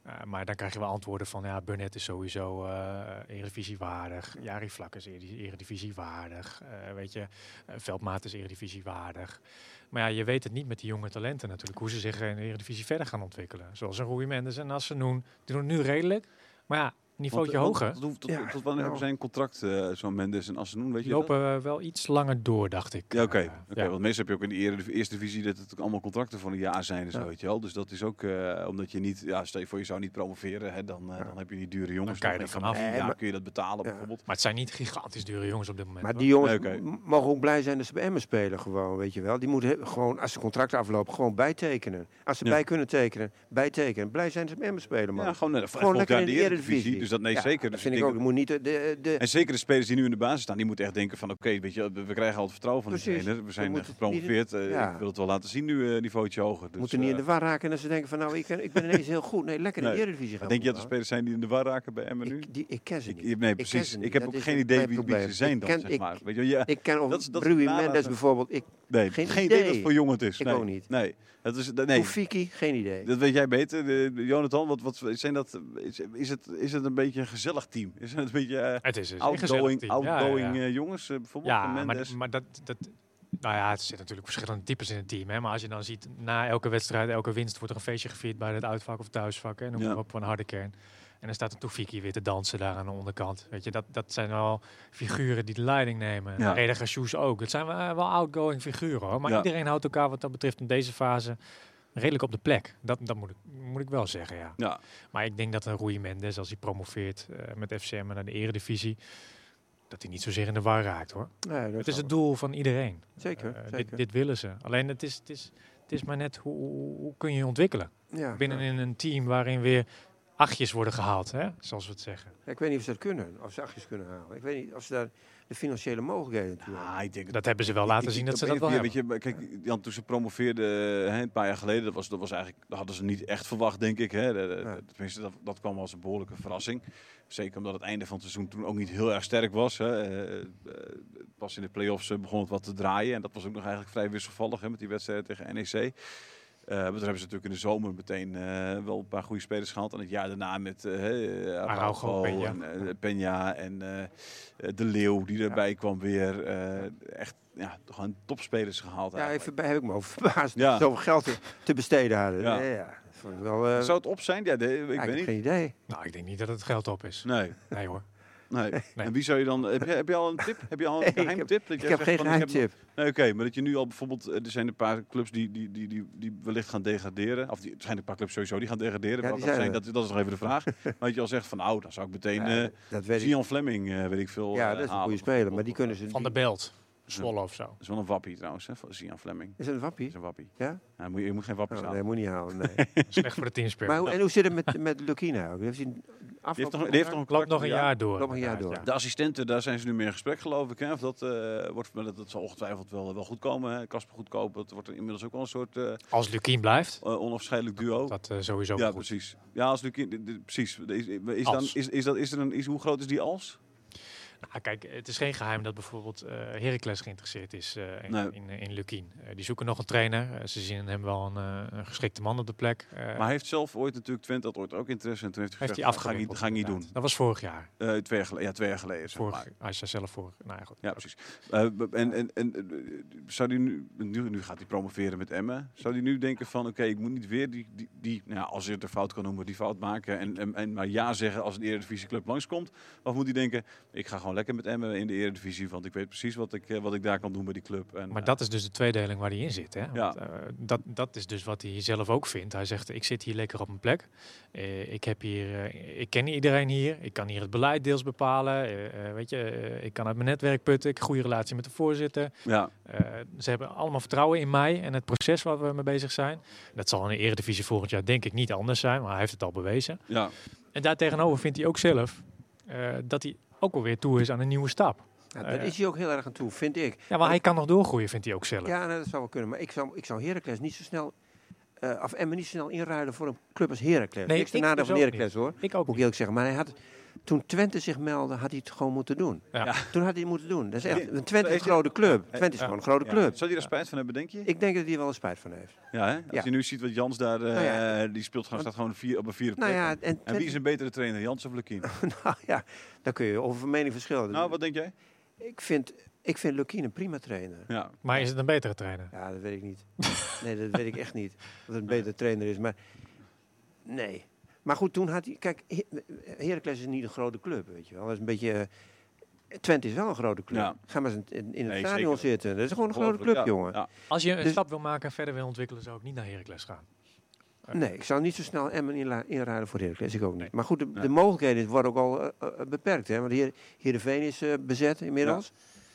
Eh, maar dan krijg je wel antwoorden van, ja, Burnett is sowieso eh eredivisiewaardig. Jari Vlak is eredi- eredivisiewaardig. Eh, weet je, eh, Veldmaat is eredivisiewaardig. Maar ja, je weet het niet met die jonge talenten natuurlijk. Hoe ze zich in de eredivisie verder gaan ontwikkelen. Zoals een Rui Mendes en Assenoen. Die doen het nu redelijk. Maar ja, niveautje
Want, eh,
hoger.
want Tot, tot,
Ja,
tot wanneer hebben
nou.
zij een contract, eh, zo'n Mendes en Asenoen, weet je
Die
dat?
lopen eh, wel iets langer door, dacht ik.
Ja, oké.
Eh,
oké.
ja.
Want meestal heb je ook in de Erediv- eerste divisie dat het ook allemaal contracten van een jaar zijn en zo,
Ja.
weet je wel. Dus dat is ook, eh, omdat je niet, ja, stel je voor je zou niet promoveren, hè, dan, eh,
Ja.
dan heb je die dure jongens.
kan je
nog.
er
En dan
vanaf.
kun je-
Nee,
Ja,
maar-
kun je dat betalen
Ja.
bijvoorbeeld.
Maar het zijn niet gigantisch dure jongens op dit moment.
Maar
hoor.
die jongens
Nee, oké.
m- mogen ook blij zijn dat ze bij Emmen spelen gewoon, weet je wel. Die moeten he- gewoon, als ze contract aflopen, gewoon bijtekenen. Als ze
Ja.
bij kunnen tekenen, bijtekenen. Blij zijn dat ze bij Emmen spelen, man.
Ja, gewoon, net-
gewoon
volgend
lekker
jaar
in de Eredivisie.
Dus dat nee,
Ja,
zeker.
Dat
Dus
vind
ik
ik
denk
ook. Je moet niet de, de, de,
En zeker de spelers die nu in de basis staan, die moeten echt denken van oké, weet je, we krijgen al het vertrouwen van de
Precies.
trainer. We
Je
zijn
moet
eh,
het
gepromoveerd. eh,
ja.
Ik wil het wel laten zien nu, eh niveautje hoger. Dus,
moeten niet in
eh,
de war raken en dat ze denken van, nou, ik, ben- ik ben ineens heel goed. Nee, lekker in
Nee.
de Eredivisie gaan.
Denk je dat er
voetballen.
spelers zijn die in de war raken bij Emmen nu?
ik, die, ik ken ze
Ik,
niet.
nee,
ken
precies.
ze
Ik,
niet.
heb
Dat
ook
is
geen
het
idee wie, wie
probleem.
ze zijn
Ik
dan,
ken-
zeg
ik-
maar. Weet je, wel, ja,
Ik ken of
Dat is- dat is
Rui
het nalaten.
Mendes bijvoorbeeld. Ik,
nee, geen,
geen
idee
idee.
dat het voor jong het is.
Ik
nee.
ook niet.
Nee, dat is... Nee,
Koefiki, geen idee.
dat weet jij beter. De- de- Jonathan, wat, wat zijn dat, is, is, het, is het een beetje een gezellig team? Is het een beetje eh,
het is een gezellig
outgoing,
team. Ja, ja,
outgoing
ja.
eh, jongens eh, bijvoorbeeld?
Ja,
van
maar,
Mendes?
maar dat, dat... Nou ja, het zit natuurlijk verschillende types in het team. Hè? Maar als je dan ziet, na elke wedstrijd, elke winst... wordt er een feestje gevierd bij het uitvak of thuisvak. En dan
Ja.
ja. op van harde kern. En dan staat een Toefiki weer te dansen daar aan de onderkant. Weet je, dat, dat zijn wel figuren die de leiding nemen.
Ja.
Ja. Reda Gashoes ook. Dat zijn wel, eh, wel outgoing figuren. Hoor. Maar
Ja.
iedereen houdt elkaar wat dat betreft in deze fase... redelijk op de plek. Dat, dat moet, ik, moet ik wel zeggen, ja.
ja.
Maar ik denk dat een Rui Mendes, als hij promoveert eh, met FCM naar de eredivisie... dat hij niet zozeer in de war raakt, hoor.
Nee, dat
Het is
zal
het doel van iedereen.
wel. Zeker,
Eh,
zeker.
dit, dit willen ze. Alleen het is, het is, het is maar net hoe, hoe- hoe kun je je ontwikkelen.
Ja.
Binnen in een team waarin weer achtjes worden gehaald, hè? zoals we het zeggen.
Ja, ik weet niet of ze dat kunnen, of ze achtjes kunnen halen. Ik weet niet of ze daar de financiële mogelijkheden toe hebben.
Ah, ik denk het
Dat hebben ze wel
Ik-
laten
ik-
zien
ik-
dat ze
op
dat
een
wel
of
hebben.
andere manier, Weet je, maar kijk, Jan, toen ze promoveerde hè, een paar jaar geleden, dat was, dat was eigenlijk, dat hadden ze niet echt verwacht, denk ik. Hè. De- de-
Nee.
Tenminste, dat, dat kwam als een behoorlijke verrassing. Zeker omdat het einde van het seizoen toen ook niet heel erg sterk was. Hè. Eh, eh, pas in de play-offs eh, begon het wat te draaien. En dat was ook nog eigenlijk vrij wisselvallig hè, met die wedstrijd tegen NEC. Eh, maar toen hebben ze natuurlijk in de zomer meteen eh, wel een paar goede spelers gehad. En het jaar daarna met eh, hè, Araujo
Araujo, Peña.
en eh, Peña en eh, eh, De Leeuw die erbij kwam weer. eh, echt, ja, gewoon topspelers gehaald
Ja,
eigenlijk.
even, bij- heb ik me over verbaasd
Ja.
dat ze zoveel geld te, te besteden hadden.
Ja.
Ja, ja. dat vond ik wel, eh,
Zou het op zijn? Ja, de- ik
ja,
weet
heb
niet.
geen idee.
Nou, ik denk niet dat het geld op is.
Nee,
Nee hoor.
(laughs)
nee. En wie zou je dan... Heb je, heb je al een tip? Heb je al een
Nee,
geheim
ik heb-
tip? dat
Ik
jij
heb
zegt
geen
van, ik heb nog-
geheimtip.
Nee, oké, maar dat je nu al bijvoorbeeld, eh, er zijn een paar clubs die, die, die, die, die wellicht gaan degraderen. Of die, er zijn een paar clubs sowieso die gaan degraderen.
Ja,
Welke
die zijn
zijn,
er.
dat, dat is nog even de vraag.
(laughs)
maar dat je al zegt van, nou, dan zou ik meteen
Ja,
eh
dat weet ik.
Gian Fleming, eh, weet ik veel,
Ja,
eh,
dat is een
halen.
goede speler, maar die kunnen ze...
Van de
die-
Belt. Zwolle of zo.
Dat is wel een wappie trouwens, hè, van Gian Fleming.
Is dat een
Dat
wappie?
is een wappie.
Ja?
Ja, je moet, je moet geen wappies
Oh,
aan.
nee, moet niet halen. Nee.
Slecht voor de teamspirit.
maar hoe, en hoe zit het
(laughs)
met, met Lukina ook? Heeft hij een
Die heeft
afgelopen
nog, die heeft nog een contract
contract?
Loopt nog een jaar door.
Loopt nog een jaar
inderdaad,
door.
De assistenten, daar zijn ze nu mee in gesprek, geloof ik. Hè? Of dat, eh, wordt, maar dat, dat zal ongetwijfeld wel, wel goed komen. Hè? Kasper Goedkoop, dat wordt inmiddels ook wel een soort eh, eh,
ja. Als Lukien blijft,
onafscheidelijk duo.
dat eh, sowieso
ja,
goed.
precies. Ja, als Luc, de- de- precies. Is, is, dan,
Als.
is, is, dat, is er een, is, hoe groot is die als?
Ah, kijk, het is geen geheim dat bijvoorbeeld eh Heracles geïnteresseerd is eh, in,
Nee.
in, in Lukien. Eh, die zoeken nog een trainer. Eh, ze zien in hem wel een, eh, een geschikte man op de plek. Eh,
Maar hij heeft zelf ooit natuurlijk Twente had ooit ook interesse en toen heeft hij
heeft hij
gezegd, "Nou, ga ik
afgewikkeld.
niet, ga ik niet doen.
inderdaad. Dat was vorig jaar.
Eh, twee jaar geleden, ja, twee jaar geleden. zeg maar.
Vorig, hij zei zelf vorig. Nou ja, goed.
Ja, precies. Eh, b- en en, en eh, zou die nu, nu, nu gaat hij promoveren met Emmen. Zou die nu denken van, oké, ik moet niet weer die, die, die nou, ja, als je het een fout kan noemen, die fout maken en, en, en maar ja zeggen als een eredivisieclub langskomt? Of moet hij denken, ik ga gewoon lekker met Emmen in de eredivisie, want ik weet precies wat ik, eh, wat ik daar kan doen bij die club. En,
Maar
eh,
dat is dus de tweedeling waar hij in zit. Hè?
Ja.
Want, eh, dat, dat is dus wat hij zelf ook vindt. Hij zegt, ik zit hier lekker op mijn plek. Eh, ik, heb hier, eh, ik ken iedereen hier. Ik kan hier het beleid deels bepalen. Eh, eh, weet je, eh, ik kan uit mijn netwerk putten. Ik heb een goede relatie met de voorzitter.
ja,
Eh, ze hebben allemaal vertrouwen in mij en het proces waar we mee bezig zijn. Dat zal in de Eredivisie volgend jaar denk ik niet anders zijn, maar hij heeft het al bewezen.
ja,
En daartegenover vindt hij ook zelf eh, dat hij ook alweer toe is aan een nieuwe stap.
Ja, daar is hij ook heel erg aan toe, vind ik.
Ja, maar hij kan nog doorgroeien, vindt hij ook zelf.
Ja, nee, dat zou wel kunnen. Maar ik zou, ik zou Heracles niet zo snel... eh of Emmen niet zo snel inruilen voor een club als Heracles.
Nee,
Niks te
ik
nadeel
dus
van
ook
Heracles, hoor.
Ik ook
Moet ik
niet.
eerlijk zeggen. Maar hij had, toen Twente zich meldde, had hij het gewoon moeten doen.
Ja.
Ja.
Toen had hij het moeten doen. Dat is echt,
Ja.
want Twente is een
Is-
grote club. Twente is
Ja.
gewoon een grote
Ja.
club.
Zou hij daar spijt van hebben, denk je?
Ik denk dat hij er wel eens spijt van heeft.
ja, hè? Als
Ja.
je nu ziet wat Jans daar, eh,
Nou ja.
die speelt gewoon, staat gewoon vier, op een vierde plek.
Nou ja, en,
en wie is
Twente-
een betere trainer, Jans of
(laughs)
Lukien?
nou ja, daar kun je over van mening verschillen.
nou, wat denk jij?
ik, vind, ik vind Lukien een prima trainer.
Ja,
Maar is het een betere trainer?
Ja, dat weet ik niet. nee, dat weet ik echt niet. Dat het een betere trainer is. Maar nee. Maar goed, toen had hij... Kijk, He- Heracles is niet een grote club, weet je wel. Dat is een beetje... eh, Twente is wel een grote club.
Ja.
Ga maar eens in, in het
Nee,
stadion
zeker.
zitten. Dat is gewoon een grote club,
Ja,
jongen.
ja.
Als je een
Dus-
stap wil maken en verder wil ontwikkelen, zou ik niet naar Heracles gaan.
Nee, ik zou niet zo snel Emmen inla- inruilen voor Heracles. Ik ook niet.
Nee.
Maar goed, de, de
Nee.
mogelijkheden worden ook al eh, eh, beperkt. Hè? Want hier, Heerenveen is eh, bezet inmiddels.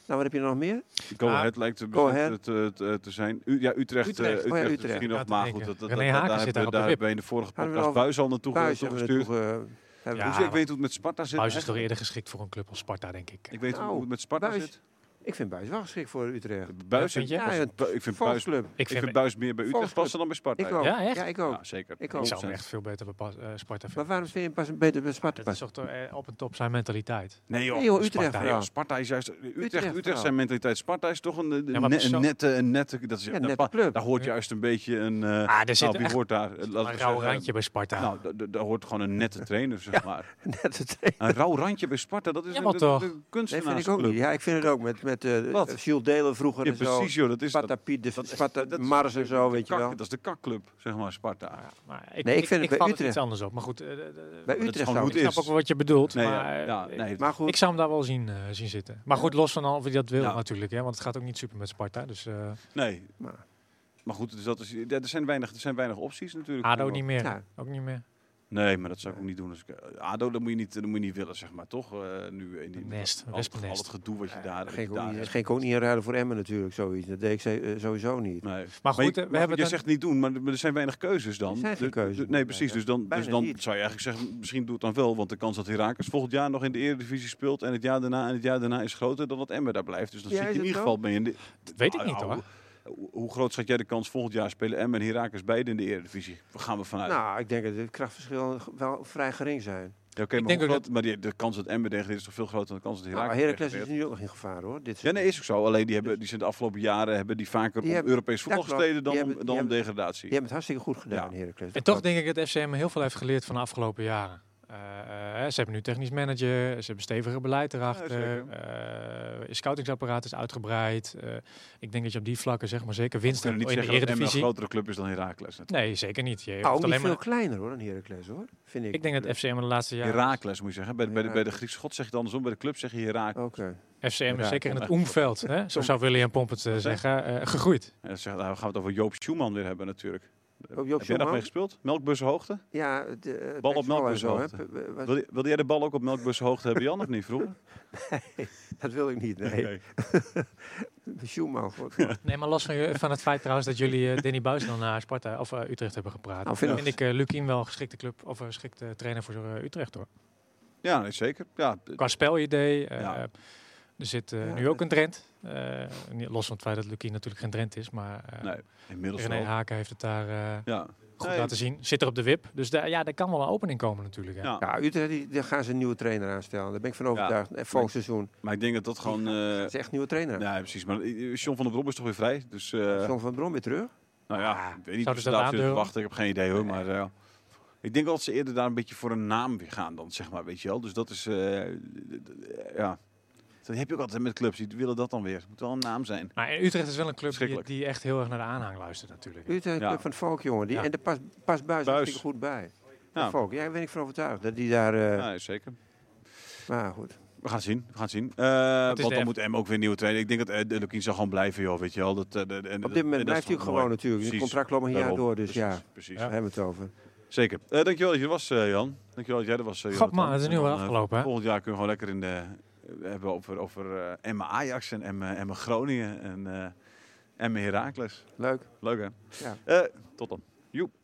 Nou, wat heb je er nog meer?
Go
Ah,
Ahead lijkt te,
Go Ahead.
te, te, te zijn. U- ja, Utrecht, eh,
Utrecht.
Utrecht,
Oh ja,
is
Utrecht.
misschien
Ja,
nog,
te
maar
denken.
goed, dat, dat,
René
dat-
Haken
daar,
zit
hebben
daar
we-
op de
daar
wip.
hebben we in de vorige
Hadden we
podcast
al-
Buis al naartoe
Buijs
ge-
hebben we
toegestuurd.
naartoe, eh, hebben we-
Dus
Ja,
ik weet hoe het met Sparta zit.
Buis is toch
eigenlijk.
eerder geschikt voor een club als Sparta, denk ik.
Ik weet
Nou,
hoe het met Sparta
Buijs.
zit.
Ik vind Buis wel geschikt voor Utrecht.
Buis
vind
en-
je?
als-
Ja, het
Bu- ik vind Buis,
Volksclub.
Ik
ik
vind,
vind Buis meer bij Utrecht
Volksclub.
passen dan bij Sparta.
Ik ook.
Ja, echt?
ik ook.
Ja, zeker.
Ik
ik
ook.
zou hem
Procent.
echt veel beter bij Pas- eh, Sparta
Maar
vinden.
waarom vind je hem pas een beter bij Sparta
Dat is
passen?
toch toch, eh, op en top zijn mentaliteit.
Nee joh.
Nee, joh, Utrecht
Sparta,
Nee,
vooral.
joh, Sparta is juist... Utrecht,
Utrecht
Utrecht
wel.
zijn mentaliteit. Sparta is toch een, een,
Ja, maar
ne-
persoon-
een nette... Een nette dat is,
Ja, een
daar
nette
pa-
club.
Daar hoort
Ja.
juist een beetje een... eh
Ah, er zit
nou, wie
echt
hoort daar? Eh, laten
een
we
rauw
zeggen,
randje bij Sparta.
Nou, d- d- daar hoort gewoon een nette trainer, zeg maar.
Net het nee,
Een rauw randje bij Sparta, dat is
Ja,
een,
maar
een-
toch.
een
vind ik ook
kunstenaarsclub.
niet. Ja, ik vind het ook. Met, met eh
Wat?
Jules Delen vroeger
Ja,
en zo.
precies joh, dat is
Sparta
dat.
Piet, de
dat is-
Sparta
dat is-
Mars en zo, weet je
Kak-
wel.
Dat is de kakclub, zeg maar, Sparta.
Ja, maar ik,
Nee, ik
ik,
vind
ik
het bij
val er
Utrecht-
iets anders op. Maar goed, eh, eh, eh,
Bij
is
Utrecht
gewoon
zou
hoe
ik
het
ik-
snap
is.
ook wel wat je bedoelt.
Nee, ja,
maar eh,
ja,
ik-
nee,
Maar goed,
ik zou hem daar wel zien, eh, zien zitten. Maar goed, los van of hij dat wil
Ja.
natuurlijk. Hè, want het gaat ook niet super met Sparta. Dus eh
nee.
Maar-
Maar goed, dus dat is, ja, er, zijn weinig, er zijn weinig opties natuurlijk.
ADO niet meer.
Ja.
Ook niet meer.
Nee, maar dat zou ik ook niet doen. Als ik, ADO, dat moet, je niet, dat moet je niet willen, zeg maar, toch? Eh, nu in die,
Nest,
al,
wespennest.
het- al het gedoe wat je daar,
Geen
daar
kon
hebt.
geen ook niet inruilen voor Emmen natuurlijk, zoiets. Dat deed ik ze- eh, sowieso niet.
Nee.
Maar goed,
je-
eh, we hebben
je
dan-
zegt niet doen, maar maar er zijn weinig keuzes dan.
Er zijn geen
Dus- dus-
keuzes.
Nee, precies. Dus dan,
Bijna
dus dan
niet.
zou je eigenlijk zeggen, misschien doe het dan wel. Want de kans dat Herakles volgend jaar nog in de Eredivisie speelt... en het jaar daarna en het jaar daarna is groter dan dat Emmen daar blijft. Dus dan
Ja,
zit je
is
in
het
ieder
zo?
geval... Ben je in de,
Dat weet ik
Nou,
niet
ja,
hoor.
Hoe, hoe groot schat jij de kans volgend jaar spelen Emmen en Herakles beide in de Eredivisie? Waar gaan we vanuit?
Nou, ik denk dat het krachtverschil wel vrij gering zijn.
ja, oké,
ik
maar,
denk
hoe
ook
groot, maar die, de kans dat Emmen degradeert is toch veel groter dan de kans dat
Nou, Maar
Herakles
Heracles is nu ook nog in gevaar hoor. Dit
Ja, nee, is ook zo. Alleen die, hebben, die zijn de afgelopen jaren hebben die vaker
Die
op
hebben-
Europees
dat
voetbal
klopt.
gestreden dan,
Die
om-
hebben-
dan
die
om
hebben-
degradatie.
Je hebt het hartstikke goed gedaan,
Ja.
Heracles. Oh,
En
Dat
toch denk ik dat FCM heel veel heeft geleerd van de afgelopen jaren. Eh, eh, ze hebben nu technisch manager, ze hebben steviger beleid erachter.
zeker.
eh, je scoutingsapparaat is uitgebreid. Eh, ik denk dat je op die vlakken, zeg maar zeker,
We
winst
kunnen
hebt
niet
in de
zeggen dat Emmen een
Eredivisie.
grotere club is dan Herakles.
Nee, zeker niet. Je
Nou,
hoeft
niet
alleen
veel
maar...
kleiner hoor dan Heracles hoor, vind ik.
Ik denk dat FCM de laatste jaren...
Herakles moet je zeggen. Bij, de- bij, de, bij de
Heracles.
Griekse god zeg je het andersom. Bij de club zeg je Herakles.
Oké.
FCM is
Ja,
zeker in
kom
het
maar.
omveld, hè? zo zou William Pompet eh,
zei je?
zeggen, eh, gegroeid.
En dan zeg, nou, we gaan we het over Joop Schumann weer hebben natuurlijk.
Joop
Heb jij daar
Schumann?
mee gespeeld? Melkbussenhoogte?
Ja, de, eh,
Bal op
Pexvolle en zo, hè.
melkbushoogte.
P- eh, was-
Wil, wilde jij de bal ook op melkbussenhoogte hebben, Jan, of niet vroeger?
Dat wil ik niet, (laughs) nee.
Nee.
Schumann, god.
Nee, maar los van, je- van het feit trouwens dat jullie eh, Danny Buis dan naar Sparta of eh, Utrecht hebben gepraat.
Nou, vind
vind
ik-
ik eh Lukien wel geschikte club of eh, geschikte trainer voor eh, Utrecht hoor.
Ja, nee, zeker. Ja,
Qua spelidee. eh,
Ja.
Er zit eh,
Ja,
nu ook een trend. los van het feit dat Lukien natuurlijk geen trend is, maar eh
Nee, inmiddels
René
wel.
Haken heeft het daar eh,
Ja.
goed
Nee,
laten zien. Zit er op de wip. Dus daar, ja, daar kan wel een opening komen natuurlijk. Hè.
Ja.
Ja, Utrecht, die, daar gaan ze een nieuwe trainer aanstellen. Daar ben ik van overtuigd. En volgend seizoen.
Maar ik denk dat dat gewoon... eh,
Dat is echt een nieuwe trainer.
ja, precies. Maar eh, John van der Brom is toch weer vrij? Dus, eh,
John van Brom weer terug.
nou
Ah,
ja, ik weet niet
Zouden
of
ze
ze
dat
daar zitten te
aandurven?
wachten. Ik heb geen idee hoor, maar... eh, ik denk dat ze eerder daar een beetje voor een naam weer gaan dan, zeg maar, weet je wel. Dus dat is, eh, d- d- ja. Dat heb je ook altijd met clubs, die willen dat dan weer. Het moet wel een naam zijn.
Maar eh, Utrecht is wel een club die,
Schrikkelijk.
die echt heel erg naar de aanhang luistert natuurlijk.
Utrecht,
Ja.
club van het volk, jongen. Die,
Ja.
En daar past, past Buijs
Buijs.
hartstikke goed bij.
Nou.
Ja. Volk, ja, daar ben ik van overtuigd. Dat die daar... eh,
Ja, zeker.
Maar goed.
We gaan het zien, we gaan het zien. Eh,
is
want
de
dan
F-
moet M ook weer een nieuwe trainer. Ik denk dat eh, de Lukien zal gewoon blijven, joh, weet je wel. Dat, eh, de- en dat- en dat
Op dit
is
moment blijft hij
toch
ook
mooi.
gewoon natuurlijk. Het
Precies.
contract loopt nog een jaar
Daarom.
door, dus ja.
precies,
Daar
Precies.
hebben we het over.
Zeker. Eh, dankjewel dat je er was, eh, Jan. Dankjewel dat jij er was, eh,
Grap
Jonathan.
maar, het is nu
En
wel
dan, eh,
afgelopen hè.
Volgend jaar kunnen we gewoon lekker in de... eh, We hebben over, over eh Emma Ajax en Emma, Emma Groningen en eh Emma Heracles.
Leuk.
Leuk, hè?
Ja.
Eh, tot dan. Joep.